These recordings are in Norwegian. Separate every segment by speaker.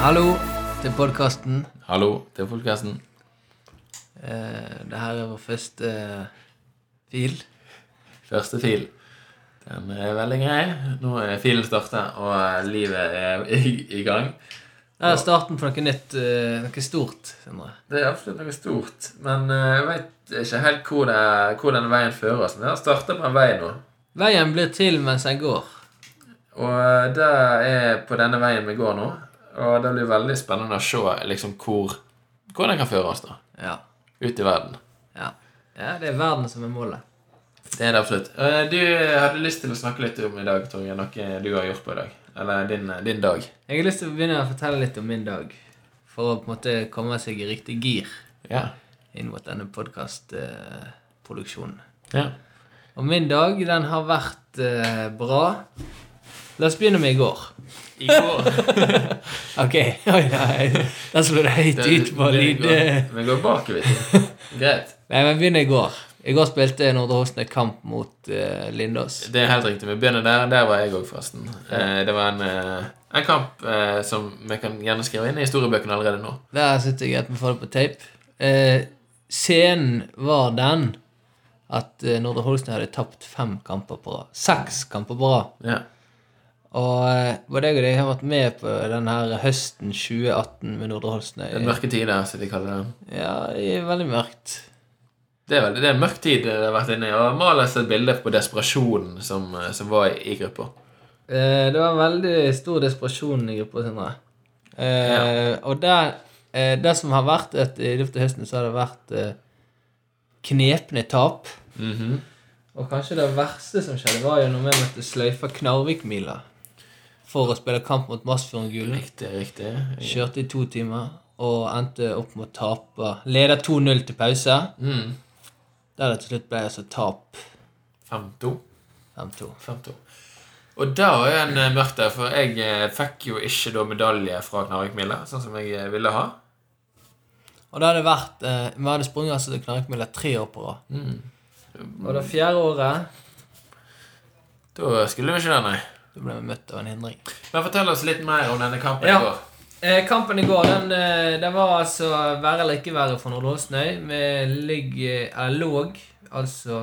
Speaker 1: Hallo til podkasten.
Speaker 2: Hallo til podkasten.
Speaker 1: Eh, det her er vår første eh, fil.
Speaker 2: Første fil. Den er veldig grei. Nå er filen starta, og eh, livet er i, i gang.
Speaker 1: Det er starten på noe nytt, eh, noe stort. Sindre.
Speaker 2: Det er absolutt noe stort, men eh, jeg veit ikke helt hvor, det, hvor den veien fører oss. Men jeg har starta på en vei nå,
Speaker 1: Veien blir til mens den går.
Speaker 2: og eh, det er på denne veien vi går nå. Og det blir veldig spennende å se liksom, hvor, hvor den kan føre oss da,
Speaker 1: Ja.
Speaker 2: ut i verden.
Speaker 1: ja. ja det er verden som er målet.
Speaker 2: Det er det absolutt. Eh, Du hadde lyst til å snakke litt om i dag, Torgeir, noe du har gjort på i dag. Eller din, eh, din dag.
Speaker 1: Jeg har lyst til å begynne å fortelle litt om min dag. For å på en måte komme seg i riktig gir
Speaker 2: Ja.
Speaker 1: inn mot denne podkastproduksjonen.
Speaker 2: ja.
Speaker 1: Og min dag, den har vært eh, bra. La oss begynne med i går.
Speaker 2: I går
Speaker 1: Ok. Oi, nei. Den slo det høyt ut på
Speaker 2: Vi
Speaker 1: lyd.
Speaker 2: går- Vi går bakover. Greit.
Speaker 1: Nei, men begynn i går. I går spilte Nordre Hosne kamp mot eh, Lindås.
Speaker 2: Det er helt riktig. Vi begynner der. Der var jeg òg, forresten. Eh, Det var en, eh, en kamp eh, som vi kan gjerne skrive inn i historiebøkene allerede nå.
Speaker 1: Der syns jeg at vi får det på tape. Eh, scenen var den at eh, Nordre Hosne hadde tapt fem kamper på rad. Seks kamper på rad.
Speaker 2: Ja.
Speaker 1: Og eh, både jeg og deg har vært med på den her høsten 2018 med Nordre Hosne.
Speaker 2: Den mørke tida, som de kaller det.
Speaker 1: Ja, det er veldig mørkt.
Speaker 2: Det er, veldig, det er en mørk tid det har vært inne i. Og Mal har sett bilde på desperasjonen som, eh, som var i, i gruppa.
Speaker 1: Eh, Det var en veldig stor desperasjon i gruppa, Sindre. Eh, Og det, eh, det som har vært at I løpet av høsten så har det vært eh, knepne tap.
Speaker 2: Mhm.
Speaker 1: Og kanskje det verste som skjedde, var jo når vi måtte sløyfe Knarvikmila for å spille kamp mot Masfjorden Gulen.
Speaker 2: Riktig, riktig.
Speaker 1: Kjørte i to timer og endte opp med å tape. Leder 2-0 til pause,
Speaker 2: Mm.
Speaker 1: der det til slutt ble altså tap
Speaker 2: 5-2.
Speaker 1: 5-2.
Speaker 2: 5-2. Og da var jo en eh, mørk der, for jeg eh, fikk jo ikke da medalje fra Knarvikmila, sånn som jeg eh, ville ha.
Speaker 1: Og det hadde vært eh, Vi hadde sprunget altså til Knarvikmila tre år på rad. Og det fjerde året
Speaker 2: Da skulle vi ikke det, nei.
Speaker 1: Da ble vi møtt av en hindring.
Speaker 2: Men fortell oss litt mer om denne kampen
Speaker 1: Ja.
Speaker 2: i går.
Speaker 1: Eh, kampen i går den, eh, den var altså være eller ikke være for Nordre Åsnøy. Vi ligger eller lå altså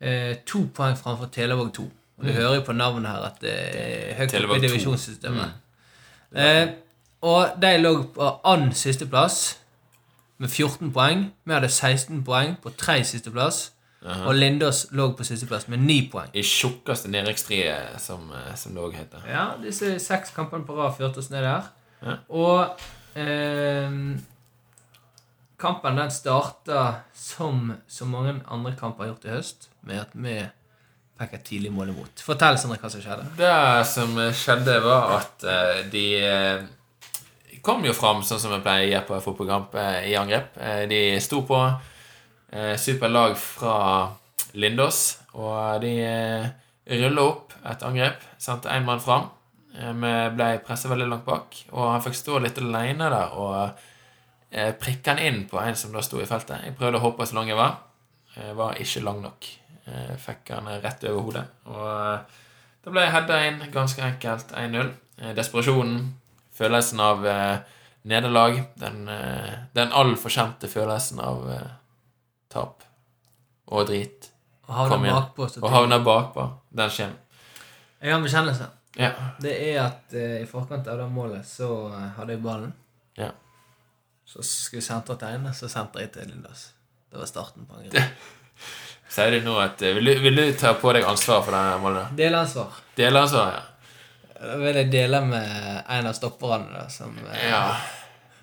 Speaker 1: eh, to poeng framfor Televåg 2. Og Du hører jo på navnet her at det er høyt
Speaker 2: Televåg
Speaker 1: oppe i
Speaker 2: 2.
Speaker 1: divisjonssystemet. Eh, og de lå på annen sisteplass med 14 poeng. Vi hadde 16 poeng på tredje sisteplass. Og Lindås lå på sisteplass med 9 poeng.
Speaker 2: I tjukkeste nedrykkstriet, som, eh, som det òg heter.
Speaker 1: Ja, disse seks kampene på rad førte oss ned der.
Speaker 2: Ja.
Speaker 1: Og ehm, kampen den starta som så mange andre kamper har gjort i høst, med at vi fikk et tidlig mål imot. Fortell, Sindre, hva som skjedde.
Speaker 2: Det som skjedde, var at eh, de eh, kom jo fram sånn som vi pleier å gjøre på fotballkamp eh, i angrep. Eh, De sto på eh, superlag fra Lindås, og de eh, rulla opp et angrep. Sendte én mann fram. Eh, Vi ble pressa veldig langt bak, og han fikk stå litt aleine der og eh, prikka han inn på en som da sto i feltet. Jeg prøvde å hoppe så lang jeg var. Eh, Var ikke lang nok. Eh, Fikk han rett over hodet. Og eh, da ble jeg heada inn ganske enkelt 1-0. Eh, Desperasjonen, følelsen av eh, nederlag, den, eh, den altfor kjente følelsen av eh, tap og drit,
Speaker 1: Og havna
Speaker 2: Kom igjen.
Speaker 1: bakpå. så
Speaker 2: og
Speaker 1: tidlig.
Speaker 2: havner bakpå, den kommer.
Speaker 1: Jeg har en bekjennelse.
Speaker 2: Ja.
Speaker 1: Det er at eh, i forkant av det målet så eh, hadde jeg ballen.
Speaker 2: Ja.
Speaker 1: Så skulle jeg sentre til ene, så sentra jeg til Lindås. Det var starten på angrepet.
Speaker 2: Sier du nå at eh, vil du, vil du ta på deg ansvaret for det målet?
Speaker 1: Delansvar.
Speaker 2: Delansvaret?
Speaker 1: Da vil jeg dele med en av stopperne da, som eh,
Speaker 2: Ja. ja.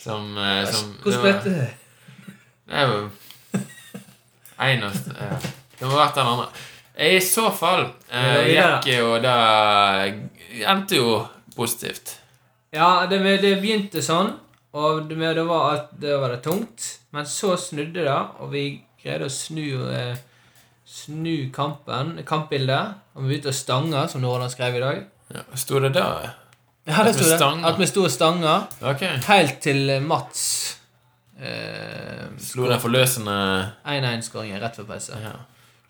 Speaker 2: Som, eh, som
Speaker 1: Hvordan
Speaker 2: det var-
Speaker 1: vet du?
Speaker 2: Det er jo En av ja. Det må ha vært den andre. I så fall eh,
Speaker 1: Vi går videre.
Speaker 2: gikk jo da Endte jo positivt.
Speaker 1: Ja, det, det begynte sånn, og det, med det var at det var det tungt. Men så snudde det, og vi greide å snu, eh, snu kampen, kampbildet. Og vi begynte å stange, som Nordland skrev i dag.
Speaker 2: Ja, Sto det der?
Speaker 1: Ja,
Speaker 2: det sto det.
Speaker 1: At vi sto og stanga,
Speaker 2: Ok.
Speaker 1: helt til Mats eh,
Speaker 2: Slo den forløsende
Speaker 1: 1-1-skåringen rett før pause.
Speaker 2: ja.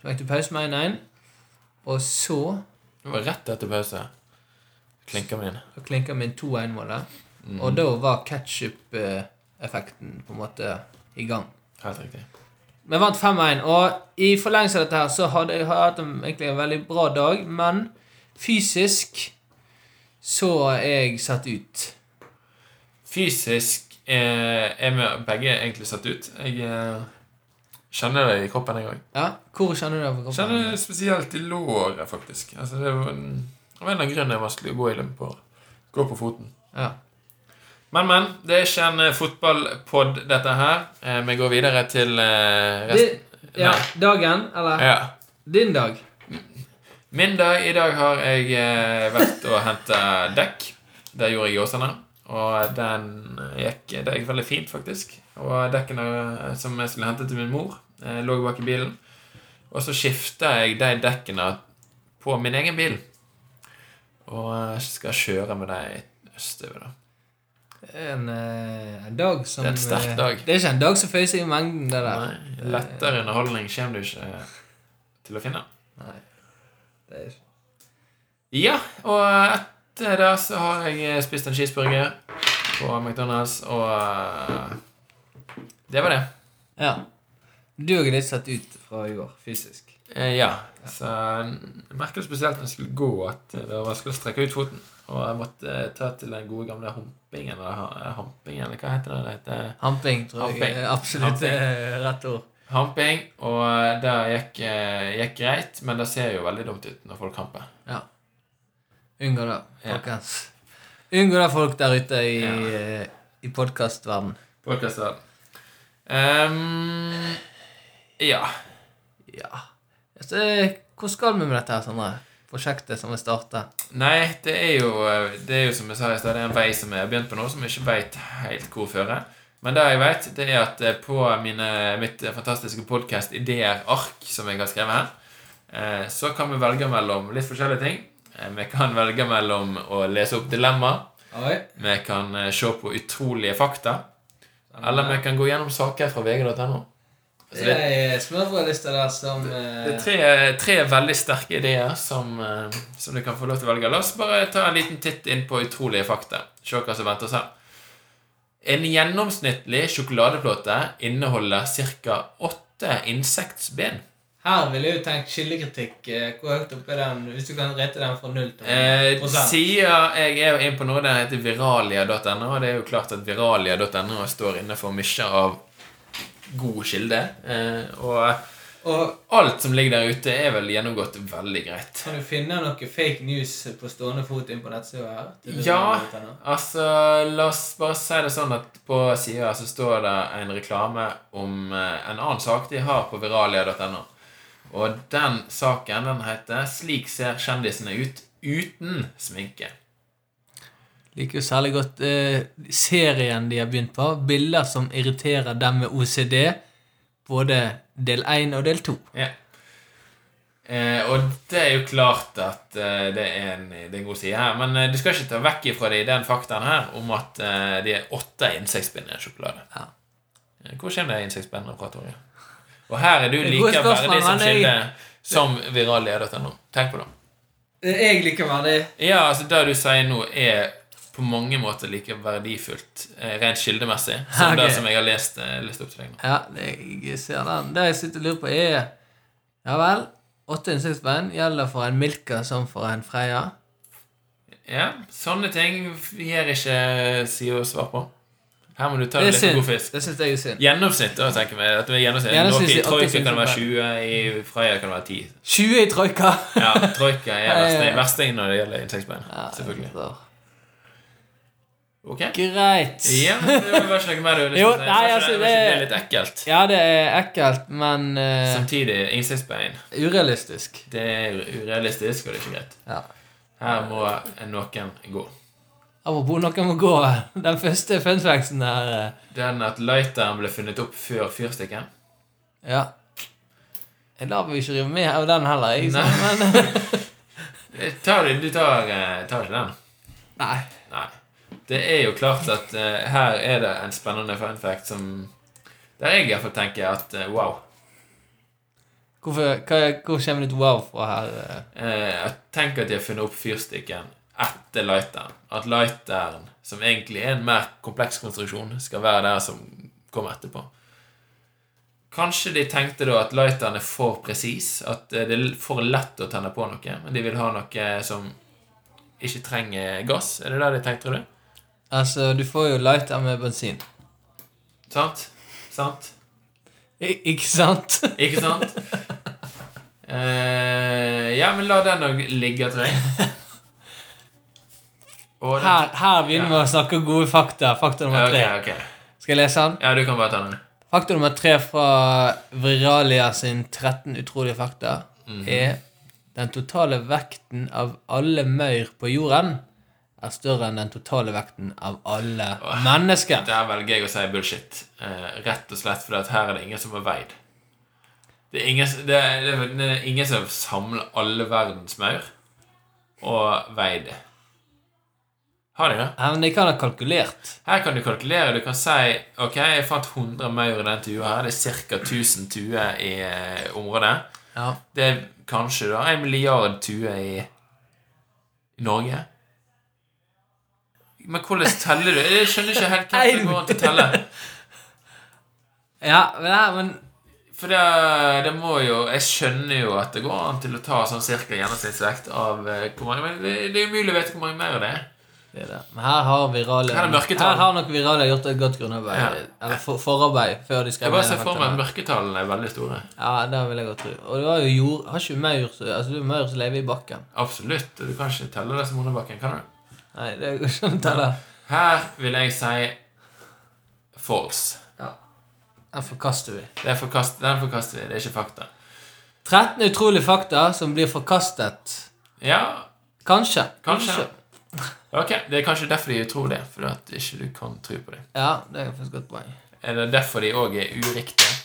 Speaker 1: Så gikk det pause med 1-1, og så
Speaker 2: Det var rett etter pause. Klinker min.
Speaker 1: Da klinka vi inn 2-1-målet.
Speaker 2: Mm.
Speaker 1: Og da var ketsjup-effekten på en måte i gang.
Speaker 2: Helt riktig.
Speaker 1: Vi vant 5-1, og i forlengelse av dette her så hadde jeg har jeg hatt en, egentlig en veldig bra dag, men fysisk så er jeg satt ut.
Speaker 2: Fysisk eh, er vi begge egentlig satt ut. Jeg eh, kjenner det i kroppen, jeg òg.
Speaker 1: Ja, Hvor kjenner du det? på kroppen?
Speaker 2: Kjenner det spesielt i låret, faktisk. Altså, det var en, det var en av grunnene jeg vanskelig å gå i løpet på, gå på foten.
Speaker 1: Ja.
Speaker 2: Men, men. Det er ikke en eh, fotballpod, dette her. Eh, vi går videre til
Speaker 1: Di,
Speaker 2: eh, resten.
Speaker 1: ja, dagen, eller
Speaker 2: Ja.
Speaker 1: din dag.
Speaker 2: Min dag i dag har jeg eh, vært og henta dekk. Det gjorde jeg i Åsane. Og den gikk, det gikk veldig fint, faktisk. Og dekkene eh, som jeg skulle hente til min mor, eh, lå bak i bilen. Og så skifta jeg de dekkene på min egen bil. Og eh, skal kjøre med de østover, da.
Speaker 1: En, eh, en dag som
Speaker 2: Det er en sterk
Speaker 1: eh,
Speaker 2: dag.
Speaker 1: Det er ikke en dag som føyer seg i mengden, det der.
Speaker 2: Nei, lettere underholdning kommer du ikke eh, til å finne.
Speaker 1: Eh, Det er,
Speaker 2: Ja, og etter det så har jeg spist en cheeseburger på McDonald's, og eh, det var det.
Speaker 1: ja. Du er litt satt ut fra i går, fysisk.
Speaker 2: Eh, Ja, så jeg merket spesielt når jeg skulle gå at det var vanskelig å strekke ut foten. Og jeg måtte eh, ta til den gode gamle humpingen, eller ha- hampingen, eller hva heter det? det heter?
Speaker 1: Hamping, tror jeg.
Speaker 2: Hamping.
Speaker 1: er Absolutt
Speaker 2: Hamping.
Speaker 1: eh, rett ord.
Speaker 2: Hamping, og det gikk, eh, gikk greit, men det ser jo veldig dumt ut når folk hamper.
Speaker 1: Unngå det,
Speaker 2: Ja.
Speaker 1: folkens. Unngå det, folk der ute i,
Speaker 2: Ja.
Speaker 1: ja. i podkastverden.
Speaker 2: Podkastverden. Um, ja.
Speaker 1: Ja. Så, eh, hvor skal vi med dette her, Sondre? Prosjektet som vi starta?
Speaker 2: Nei, det er jo, eh, det er jo som jeg sa i stad, det er en vei som jeg har begynt på nå, som jeg ikke veit helt hvor fører. Men det jeg vet, det er at eh, på mine, mitt fantastiske podkast Ideer-ark, som jeg har skrevet her, eh, så kan vi velge mellom litt forskjellige ting. Eh, Vi kan velge mellom å lese opp dilemma, vi kan eh, se på utrolige fakta, eller vi kan gå gjennom saker fra vg.no. Så det,
Speaker 1: er smørbrødlista der som eh,
Speaker 2: det er tre, tre veldig sterke ideer som, eh, som du kan få lov til å velge. La oss bare ta en liten titt inn på utrolige fakta. Se hva som venter oss her. En gjennomsnittlig sjokoladeplate inneholder ca. åtte insektsben.
Speaker 1: Her ville jeg jo tenkt kildekritikk. eh, Hvor høyt oppe er den? Hvis du kan rete den fra null
Speaker 2: Eh, siden jeg er jo inne på noe, den heter viralia.no, og det er jo klart at viralia.no står inne for mye av god kilde. Eh, og
Speaker 1: Og
Speaker 2: alt som ligger der ute, er vel gjennomgått veldig greit.
Speaker 1: kan du finne noe fake news på stående fot inn på nettsida her?
Speaker 2: Ja, altså La oss bare si det sånn at på sida så står det en reklame om eh, en annen sak de har på viralia.no. Og den saken den heter 'Slik ser kjendisene ut uten sminke'.
Speaker 1: Liker jo særlig godt eh, serien de har begynt på. Bilder som irriterer dem med OCD. Både del 1 og del 2.
Speaker 2: Ja. Eh, og det er jo klart at eh, det, er en, det er en god side her, men eh, du skal ikke ta vekk ifra deg den faktaen her om at eh, det er åtte insektspinn i en sjokolade.
Speaker 1: Ja.
Speaker 2: Eh, Hvor kommer det insektspinn fra, Torje? Og her er du
Speaker 1: Det er
Speaker 2: like
Speaker 1: gode spørsmål,
Speaker 2: verdig som
Speaker 1: men jeg-
Speaker 2: kilde som viralia.no. Tenk på det.
Speaker 1: Jeg liker verdig.
Speaker 2: Ja, altså Det du sier nå, er på mange måter like verdifullt eh, rent kildemessig som
Speaker 1: Ok.
Speaker 2: det som jeg har lest, eh, lest opp til deg nå.
Speaker 1: Ja, det, jeg ser den. Det jeg sitter og lurer på, er Ja vel. Åtte insektspenn gjelder for en Milka som for en Freia.
Speaker 2: Ja, Sånne ting gir ikke sider å svar på. Her må du ta
Speaker 1: Det er
Speaker 2: det litt med
Speaker 1: synd.
Speaker 2: god fisk.
Speaker 1: Det syns jeg er synd.
Speaker 2: Gjennomsnitt, da, tenker vi. At du er gjennomsnitt.
Speaker 1: Gjennomsnitt
Speaker 2: Noe
Speaker 1: i
Speaker 2: I Troika
Speaker 1: åtte
Speaker 2: kan det være
Speaker 1: tusen
Speaker 2: 20, i Freia kan det være 10.
Speaker 1: 20 i troika!
Speaker 2: Ja, Troika er
Speaker 1: Ja, ja, ja.
Speaker 2: versting, versting når det gjelder insektbein. Selvfølgelig.
Speaker 1: Så,
Speaker 2: Ok?
Speaker 1: Greit.
Speaker 2: Ja, men det var ikke noe mer du ville
Speaker 1: Jo,
Speaker 2: si.
Speaker 1: nei,
Speaker 2: Var ikke-
Speaker 1: altså,
Speaker 2: var ikke
Speaker 1: det-
Speaker 2: det litt ekkelt.
Speaker 1: Ja, det er ekkelt, men eh,
Speaker 2: Samtidig, insektbein,
Speaker 1: urealistisk.
Speaker 2: det er urealistisk, og det er ikke greit.
Speaker 1: Ja.
Speaker 2: Her må noen gå.
Speaker 1: Apropos noen må gå. Den første funfacten er eh,
Speaker 2: Den at lighteren ble funnet opp før fyrstikken.
Speaker 1: Ja. Jeg lar meg ikke rive med av den heller, jeg. så-
Speaker 2: Det Tar, du du tar, eh, tar ikke den?
Speaker 1: Nei.
Speaker 2: Nei. Det er jo klart at eh, her er det en spennende fun fact som Der jeg iallfall tenker at eh, wow.
Speaker 1: Hvorfor, hva, hvor kommer det et wow fra her? eh?
Speaker 2: Eh, at- tenk at de har funnet opp fyrstikken etter lighteren. At lighteren, som egentlig er en mer kompleks konstruksjon, skal være der som kommer etterpå. Kanskje de tenkte da at lighteren er for presis, at eh, det er for lett å tenne på noe, men de vil ha noe som ikke trenger gass. Er det det de tenkte, tror du?
Speaker 1: Altså, du får jo lighter med bensin.
Speaker 2: Sant? Sant?
Speaker 1: I, ikke sant?
Speaker 2: Ikke sant? Eh, ja, men la den òg ligge, tror jeg. Og den-
Speaker 1: Her, her begynner vi å snakke gode fakta. Fakta
Speaker 2: Ja,
Speaker 1: nummer
Speaker 2: ok,
Speaker 1: tre.
Speaker 2: ok.
Speaker 1: Skal jeg lese den?
Speaker 2: Ja, du kan bare ta den.
Speaker 1: Fakta nummer tre fra Viralia sin 13 utrolige fakta er den totale vekten av alle maur på jorden er større enn den totale vekten av alle mennesker.
Speaker 2: Der velger jeg å si bullshit. Eh, rett og slett fordi at her er det ingen som har veid. Det er ingen, det er, det er- det er ingen som samler alle verdens maur og veid det. Har de det?
Speaker 1: Ja, Men de kan ha kalkulert.
Speaker 2: Her kan du kalkulere. Du kan si Ok, jeg fant 100 maur i den tua her. Det er ca. 1000 tuer i eh, området.
Speaker 1: Ja.
Speaker 2: Det er kanskje da en milliard tuer i i Norge. Men hvordan teller du? Jeg skjønner ikke helt hvem som går rundt og teller.
Speaker 1: Ja, men, ja, men
Speaker 2: For det, det må jo Jeg skjønner jo at det går an til å ta sånn cirka gjennomsnittsvekt av eh, hvor mange Men det, det er umulig å vite hvor mange maur det er.
Speaker 1: det er det. Men her har Viralia
Speaker 2: Her er
Speaker 1: Her
Speaker 2: mørketall.
Speaker 1: har nok Viralia gjort et godt grunnarbeid.
Speaker 2: Ja.
Speaker 1: Eller for, forarbeid før de skrev
Speaker 2: Jeg bare
Speaker 1: ned
Speaker 2: ser for
Speaker 1: faktaene.
Speaker 2: meg at mørketallene er veldig store.
Speaker 1: Ja, det vil jeg godt tro. Og det var jo jord Har ikke maur så- Altså, det er maur som lever i bakken.
Speaker 2: Absolutt. og Du kan ikke telle det som under bakken, kan du?
Speaker 1: Nei, det går ikke an å telle.
Speaker 2: Her vil jeg si false.
Speaker 1: Den forkaster vi.
Speaker 2: Det er forkast, den forkaster vi. Det er ikke fakta.
Speaker 1: 13 utrolige fakta som blir forkastet.
Speaker 2: Ja,
Speaker 1: Kanskje.
Speaker 2: Kanskje. ok. Det er kanskje derfor de tror det. Fordi at ikke du kan tro på det.
Speaker 1: Ja, det er faktisk et godt poeng.
Speaker 2: Er det derfor de òg er uriktige?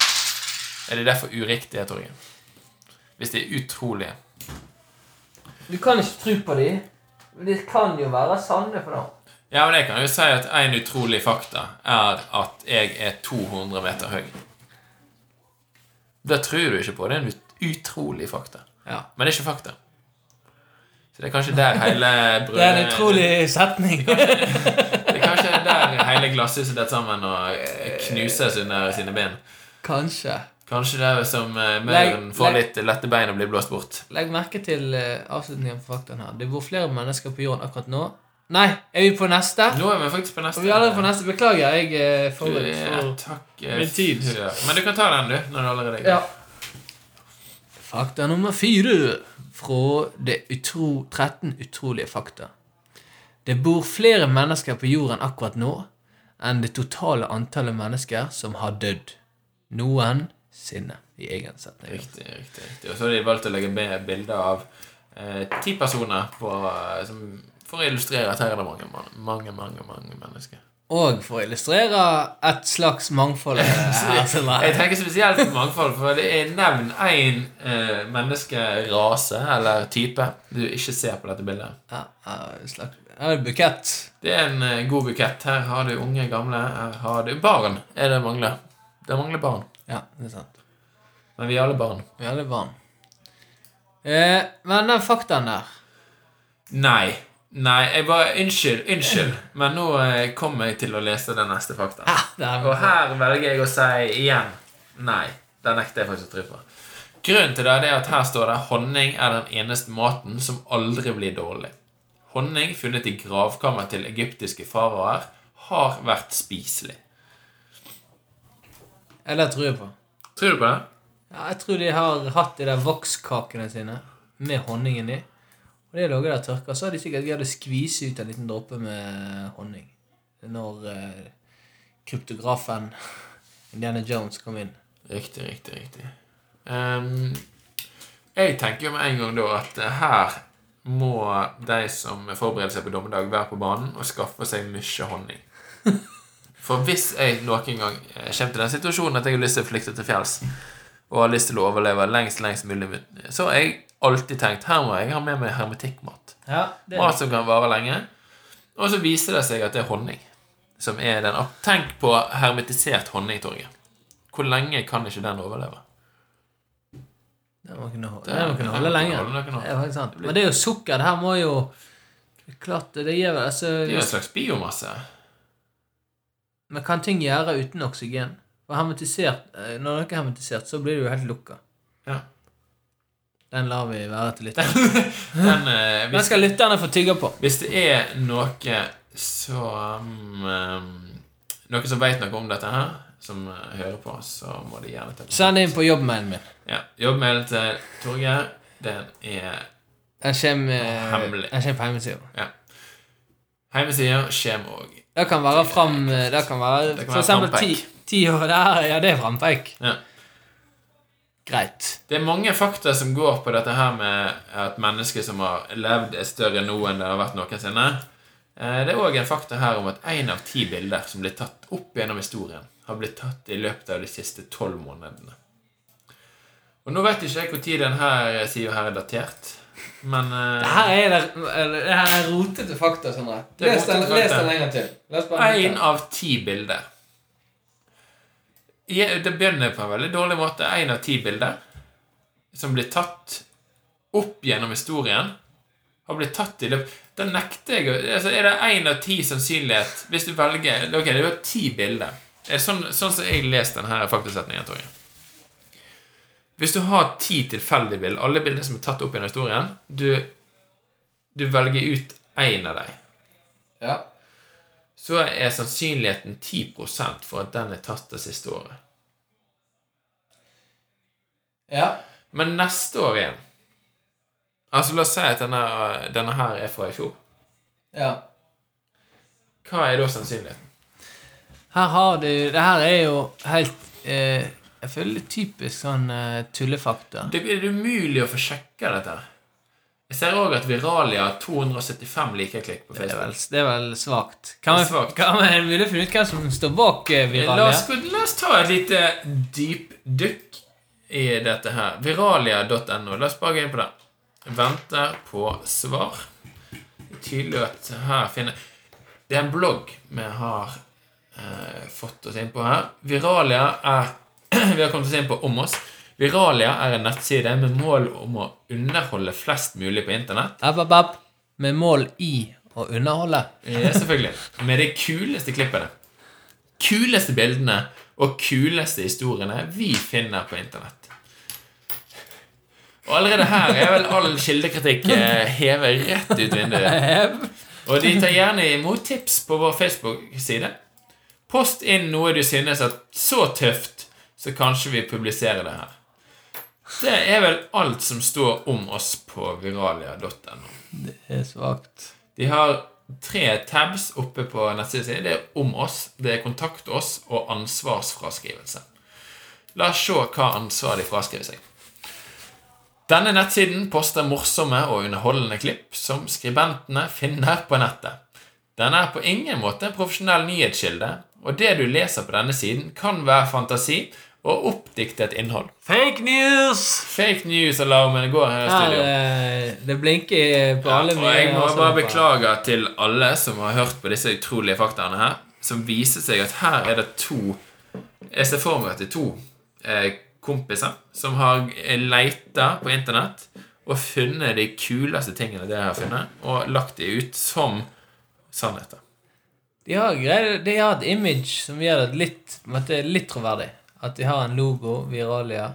Speaker 2: Er det derfor uriktige, Torgeir? Hvis de er utrolige.
Speaker 1: Du kan ikke tro på de, men de kan jo være sanne for dem.
Speaker 2: Ja, men jeg kan jo si at en utrolig fakta er at jeg er 200 meter høy. Det tror du ikke på. Det er en ut- utrolig fakta.
Speaker 1: Ja.
Speaker 2: Men det er ikke fakta. Så det er kanskje der hele brødet
Speaker 1: Det er en utrolig setning.
Speaker 2: Det er kanskje der hele glasshuset detter sammen og knuses under sine ben.
Speaker 1: Kanskje.
Speaker 2: Kanskje det er som eh,
Speaker 1: Legg-
Speaker 2: mauren får
Speaker 1: legg-
Speaker 2: litt lette bein og blir blåst bort.
Speaker 1: Legg merke til eh, avslutningen på faktaen her. Det bor flere mennesker på jorden akkurat nå. Nei, er vi på neste?
Speaker 2: Nå er vi faktisk på neste.
Speaker 1: Vi er allerede på neste. Beklager, jeg eh, er
Speaker 2: Du,
Speaker 1: forberedt
Speaker 2: ja,
Speaker 1: for
Speaker 2: takk. eh,
Speaker 1: Min tid.
Speaker 2: for- Men du kan ta den, du. Når du allerede er i gang.
Speaker 1: Ja. Fakta nummer fire fra det utro, 13 utrolige fakta. Det bor flere mennesker på jorden akkurat nå enn det totale antallet mennesker som har dødd. Noensinne, i egen setning.
Speaker 2: Riktig, riktig, riktig. Og så har de valgt å legge med bilder av eh, ti personer på, eh, som, for å illustrere at her er det mange, man- mange, mange, mange mennesker.
Speaker 1: Og for å illustrere et slags mangfold her som
Speaker 2: Jeg
Speaker 1: er
Speaker 2: tenker spesielt på mangfold, for det er nevn én eh, menneskerase eller type du ikke ser på dette bildet.
Speaker 1: ja, ja, et slags- ja, en bukett.
Speaker 2: Det er en eh, god bukett. Her har du unge, gamle. Her har du barn. Er det mangler? Det mangler barn.
Speaker 1: Ja, det er sant.
Speaker 2: Men vi er alle barn.
Speaker 1: Ja, det er varm. Eh, men den faktaen der
Speaker 2: Nei. Nei, jeg bare Unnskyld. Unnskyld. Men nå eh, kommer jeg til å lese den neste fakta.
Speaker 1: ah, det er-
Speaker 2: Og her velger jeg å si igjen Nei, det nekter jeg faktisk å tro på. Grunnen til det det er at her står det honning er den eneste maten som aldri blir dårlig. Honning funnet i gravkammer til egyptiske faraoer har vært spiselig.
Speaker 1: Ja, det tror jeg på.
Speaker 2: Tror du på det?
Speaker 1: Ja, jeg tror de har hatt de der vokskakene sine med honningen i. Og det lager de tørka, så har de sikkert greid å skvise ut en liten dråpe med honning. Når eh, kryptografen Indiana Jones kom inn.
Speaker 2: Riktig, riktig, riktig. Ehm, jeg tenker jo med en gang da at eh, her må de som forbereder seg på dommedag, være på banen og skaffe seg mye honning. For hvis jeg noen gang eh, kommer til den situasjonen at jeg har lyst til å flykte til fjells, og har lyst til å overleve lengst, lengst mulig, så har jeg alltid tenkt her må jeg ha med meg hermetikkmat.
Speaker 1: Ja,
Speaker 2: Mat som kan vare lenge. Og så viser det seg at det er honning. Som er den opp- Tenk på hermetisert honning, Torgeir. Hvor lenge kan ikke den overleve?
Speaker 1: må kunne holde, det må kunne holde lenge.
Speaker 2: Holde noen år.
Speaker 1: Det er faktisk sant. Men det er jo sukker. Det her må jo Klart det. det gir vel
Speaker 2: Det er jo en
Speaker 1: altså,
Speaker 2: slags biomasse.
Speaker 1: Men kan ting gjøre uten oksygen? For hermetisert, eh, Når noe er hermetisert, så blir det jo helt lukka.
Speaker 2: Ja.
Speaker 1: Den lar vi være til lytterne.
Speaker 2: Den, eh,
Speaker 1: Den
Speaker 2: hvis,
Speaker 1: skal lytterne få tygge på.
Speaker 2: hvis det er noe som eh, Noen som veit noe om dette her, som eh, hører på, så må de gjerne ta
Speaker 1: Send inn på jobbmailen min.
Speaker 2: Ja, Jobbmail til Torgeir. Den er
Speaker 1: Den kommer
Speaker 2: Hemmelig.
Speaker 1: eh, den kommer på hjemmesida.
Speaker 2: Hjemmesider kommer òg.
Speaker 1: Det kan være fram eh, Det kan være
Speaker 2: Det kan
Speaker 1: for
Speaker 2: være
Speaker 1: eksempel ti,
Speaker 2: frampeik.
Speaker 1: ti år der. Ja, det er frampeik.
Speaker 2: Ja.
Speaker 1: Greit.
Speaker 2: Det er mange fakta som går på dette her med at mennesker som har levd, er større nå enn det har vært noensinne. Eh, Det er òg en fakta her om at én av ti bilder som blir tatt opp gjennom historien, har blitt tatt i løpet av de siste tolv månedene. Og nå vet ikke jeg når den her sida her er datert, men eh,
Speaker 1: Det her er, det, det her er rotete fakta, Sondre.
Speaker 2: Det er
Speaker 1: Les den,
Speaker 2: rotete
Speaker 1: les
Speaker 2: fakta.
Speaker 1: den en gang til. Les bare den
Speaker 2: Én
Speaker 1: ut.
Speaker 2: av ti bilder. Je- Det begynner på en veldig dårlig måte. Én av ti bilder som blir tatt opp gjennom historien, har blitt tatt i løpet Da nekter jeg å- altså, Er det én av ti sannsynlighet Hvis du velger Ok, det var ti bilder. Er det sånn, sånn som jeg leste denne faktasetningen, tror jeg. Hvis du har ti tilfeldige bilder, alle bilder som er tatt opp gjennom historien, du, du velger ut én av dem
Speaker 1: Ja.
Speaker 2: så er sannsynligheten 10 for at den er tatt det siste året.
Speaker 1: ja.
Speaker 2: Men neste år igjen Altså, la oss si at denne, denne her er fra i fjor.
Speaker 1: Ja.
Speaker 2: Hva er da sannsynligheten?
Speaker 1: Her har du Det her er jo helt eh, Jeg føler det er typisk sånn eh, tullefakta.
Speaker 2: Det er det umulig å få sjekka dette. her? Jeg ser òg at Viralia har 275 likeklikk på
Speaker 1: Det er vel,
Speaker 2: Facebook.
Speaker 1: det er vel svakt. Kan
Speaker 2: Det er
Speaker 1: vi
Speaker 2: svakt.
Speaker 1: kan vi mulig finne ut hvem som står bak eh,
Speaker 2: La
Speaker 1: Viralia?
Speaker 2: oss, gå- la oss ta et lite dypdykk i dette her. Viralia.no. La oss bare gå inn på det. Venter på svar. Det er Tydelig at her finner Det er en blogg vi har eh, fått oss inn på her. Viralia er Vi har kommet oss inn på om oss. Viralia er en nettside med mål om å underholde flest mulig på internett.
Speaker 1: App, app, app. Med mål i å underholde.
Speaker 2: Ja, Eh, selvfølgelig. Med de kuleste klippene. Kuleste bildene og kuleste historiene vi finner på internett. Og allerede her er vel all kildekritikk eh, hevet rett ut vinduet. Og de tar gjerne imot tips på vår Facebook-side. Post inn noe du synes er så tøft, så kanskje vi publiserer det her. Det er vel alt som står om oss på viralia.no.
Speaker 1: Det er svakt.
Speaker 2: De har tre tabs oppe på nettsiden sin. Det er om oss, det er kontakt oss og ansvarsfraskrivelse. La oss se hva ansvar de fraskriver seg. Denne nettsiden poster morsomme og underholdende klipp som skribentene finner på nettet. Den er på ingen måte en profesjonell nyhetskilde, og det du leser på denne siden, kan være fantasi og oppdiktet innhold.
Speaker 1: Fake news!
Speaker 2: Fake news-alarmen går her i studio.
Speaker 1: Her, eh, det blinker på alle
Speaker 2: og jeg
Speaker 1: mine
Speaker 2: må bare
Speaker 1: varsellamper.
Speaker 2: beklage til alle som har hørt på disse utrolige faktaene her, som viser seg at her er det to Jeg ser for meg at det er to eh, kompiser som har leita på internett og funnet de kuleste tingene de har funnet, og lagt de ut som sannheter.
Speaker 1: De har, greier, de har et image som gjør det litt, på en måte litt troverdig. At de har en logo, Viralia.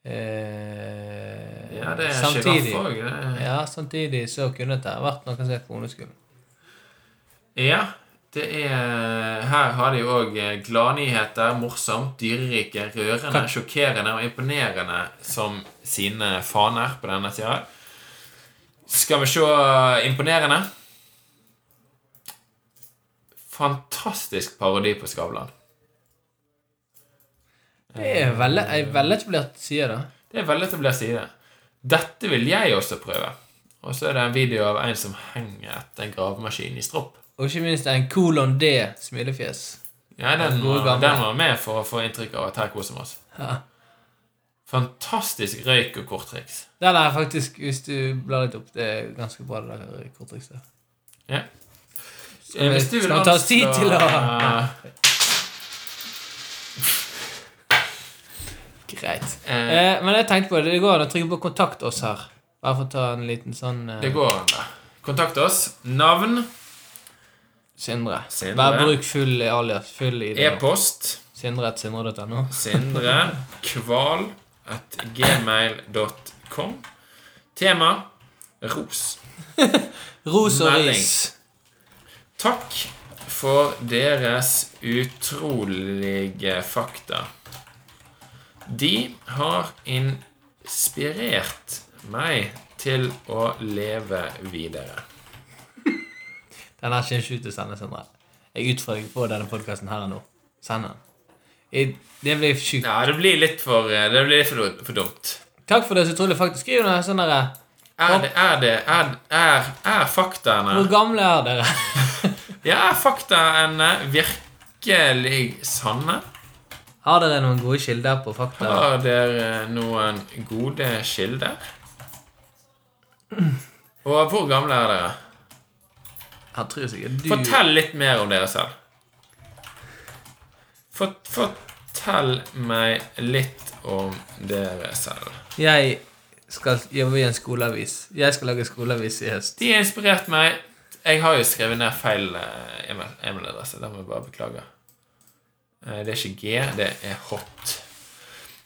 Speaker 1: Eh,
Speaker 2: Ja, det er sjiraff
Speaker 1: samtidig,
Speaker 2: òg.
Speaker 1: ja, samtidig så kunne det vært noen som er på ungdomsskolen.
Speaker 2: Ja, det er Her har de jo òg gladnyheter, morsomt, dyrerike, rørende, sjokkerende og imponerende som sine faner på denne sida. Skal vi se eh, imponerende? Fantastisk parodi på Skavlan.
Speaker 1: Det
Speaker 2: Eh.
Speaker 1: er veldig, ei veletablert side, da.
Speaker 2: Det er veldig etablert side. Dette vil jeg også prøve. Og så er det en video av en som henger etter en gravemaskin i stropp.
Speaker 1: Og ikke minst en kolon D smilefjes.
Speaker 2: Ja, den,
Speaker 1: gode
Speaker 2: var-
Speaker 1: gamle.
Speaker 2: den var med for å få inntrykk av at her koser vi oss.
Speaker 1: Ja.
Speaker 2: Fantastisk røyk og korttriks.
Speaker 1: Den er faktisk, hvis du blar litt opp, det er ganske bra, det der korttrikset.
Speaker 2: Ja.
Speaker 1: vi-
Speaker 2: Eh, hvis du vil
Speaker 1: skal vi ta oss tid
Speaker 2: anslå-
Speaker 1: til Greit.
Speaker 2: Eh,
Speaker 1: Eh, men jeg tenkte på det, det går an å trykke på 'kontakt oss' her. Bare for å ta en liten sånn eh,
Speaker 2: Det går an, da. Kontakt oss. Navn,
Speaker 1: Sindre.
Speaker 2: Sindre.
Speaker 1: Bare bruk full alias. Full i det.
Speaker 2: e-post
Speaker 1: Sindre at sindre.no.
Speaker 2: Sindre Kval at gmail.com. Tema ros.
Speaker 1: Ros og
Speaker 2: Melding.
Speaker 1: ris.
Speaker 2: Takk for deres utrolige fakta. De har inspirert meg til å leve videre.
Speaker 1: Den her kommer ikke ut til å sende, Sindre. Jeg utfordrer deg på denne podkasten her og nå. Send den. Jeg- Det blir sjukt.
Speaker 2: Ja, det blir litt for, eh, det blir litt for, for dumt.
Speaker 1: Takk for det så utrolig faktisk. Skriv noe sånn derre
Speaker 2: Er det Er, det, er, er, er
Speaker 1: Hvor
Speaker 2: faktaene
Speaker 1: gamle er dere?
Speaker 2: Ja, er faktaene virkelig sanne?
Speaker 1: Har dere noen gode kilder på fakta?
Speaker 2: Har dere noen gode kilder? Og hvor gamle er dere?
Speaker 1: Han tror sikkert du
Speaker 2: Fortell litt mer om dere selv. Fort- fortell meg litt om dere selv.
Speaker 1: Jeg skal jobbe i en skoleavis. Jeg skal lage skoleavis i høst.
Speaker 2: De har inspirert meg. Jeg har jo skrevet ned feil eh, email- e-mailadresse. Det må jeg bare beklage. Eh, Det er ikke G, det er hot.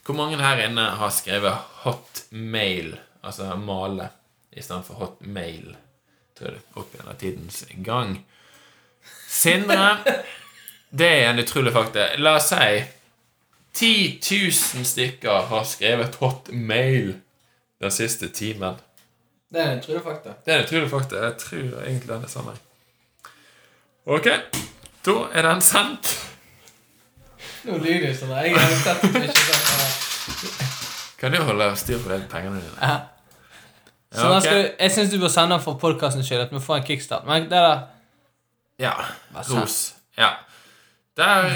Speaker 2: Hvor mange her inne har skrevet hotmail, altså male, istedenfor hotmail? Tror du, opp gjennom tidens gang. Sindre, det er en utrolig fakta. La oss si 10 000 stykker har skrevet hotmail den siste timen.
Speaker 1: Det er en utrolig fakta.
Speaker 2: Det er utrolig fakta. Jeg tror egentlig den er sann. jeg. Ok, da er den sendt.
Speaker 1: Nå lyder det sånn. Jeg har sett det ikke sånn.
Speaker 2: Kan du holde styr på de pengene dine?
Speaker 1: Ja. Så
Speaker 2: Ja,
Speaker 1: da
Speaker 2: ok.
Speaker 1: skal, du- jeg syns du bør sende den for podkastens skyld, at vi får en kickstart. Men det er da
Speaker 2: Ja.
Speaker 1: Hva sa-
Speaker 2: Ros. Ja. Der eh,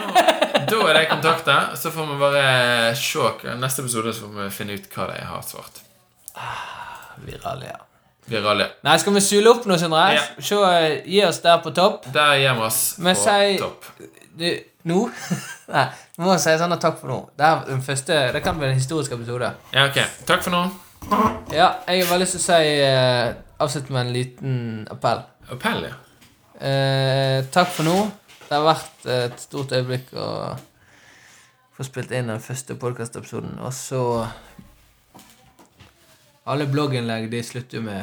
Speaker 2: nå, Da er de kontakta. Så får vi bare se. hva- Neste episode så får vi finne ut hva de har svart.
Speaker 1: Viral, ja.
Speaker 2: Virale.
Speaker 1: Nei, skal vi sule opp nå, Sindre?
Speaker 2: Ja.
Speaker 1: Se, eh, gi oss der på topp.
Speaker 2: Der gir vi oss
Speaker 1: Men
Speaker 2: på
Speaker 1: si-
Speaker 2: topp.
Speaker 1: Du, nå Nei, vi må si sånn at takk for nå. Det er den første Det kan bli en historisk episode.
Speaker 2: Ja, ok. Takk for nå.
Speaker 1: Ja, jeg har bare lyst til å si eh, Avslutte med en liten appell.
Speaker 2: Appell, ja.
Speaker 1: Eh, takk for nå. Det har vært et stort øyeblikk å få spilt inn den første podkastepisoden. Og så Alle blogginnlegg de slutter jo med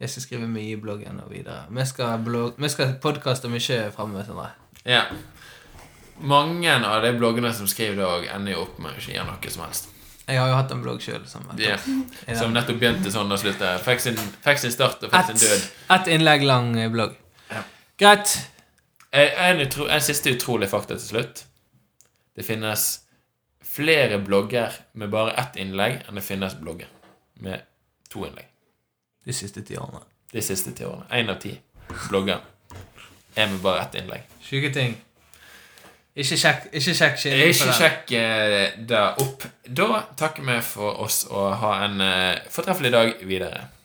Speaker 1: Jeg skal skrive mye i bloggen og videre. Vi skal, blogg- vi skal podkaste mye framover. Sindre.
Speaker 2: ja. Mange av de bloggene som skriver det òg, ender jo opp med å ikke gjøre noe som helst.
Speaker 1: Jeg har jo hatt en blogg sjøl.
Speaker 2: Ja. Som nettopp begynte sånn og slutta. Fikk, sin- fikk sin start og fikk sin død.
Speaker 1: Ett et innlegg lang eh, blogg.
Speaker 2: Ja.
Speaker 1: Greit.
Speaker 2: Eh, En, utro, en siste utrolig fakta til slutt. Det finnes flere blogger med bare ett innlegg enn det finnes blogger med to innlegg.
Speaker 1: De siste ti årene.
Speaker 2: De siste ti årene. Én av ti blogger er med bare ett innlegg.
Speaker 1: Sjuke ting. Ikke sjekk Ikke sjekk kilden på
Speaker 2: Ikke
Speaker 1: den.
Speaker 2: sjekk eh, det opp. Da takker vi for oss og ha en eh, fortreffelig dag videre.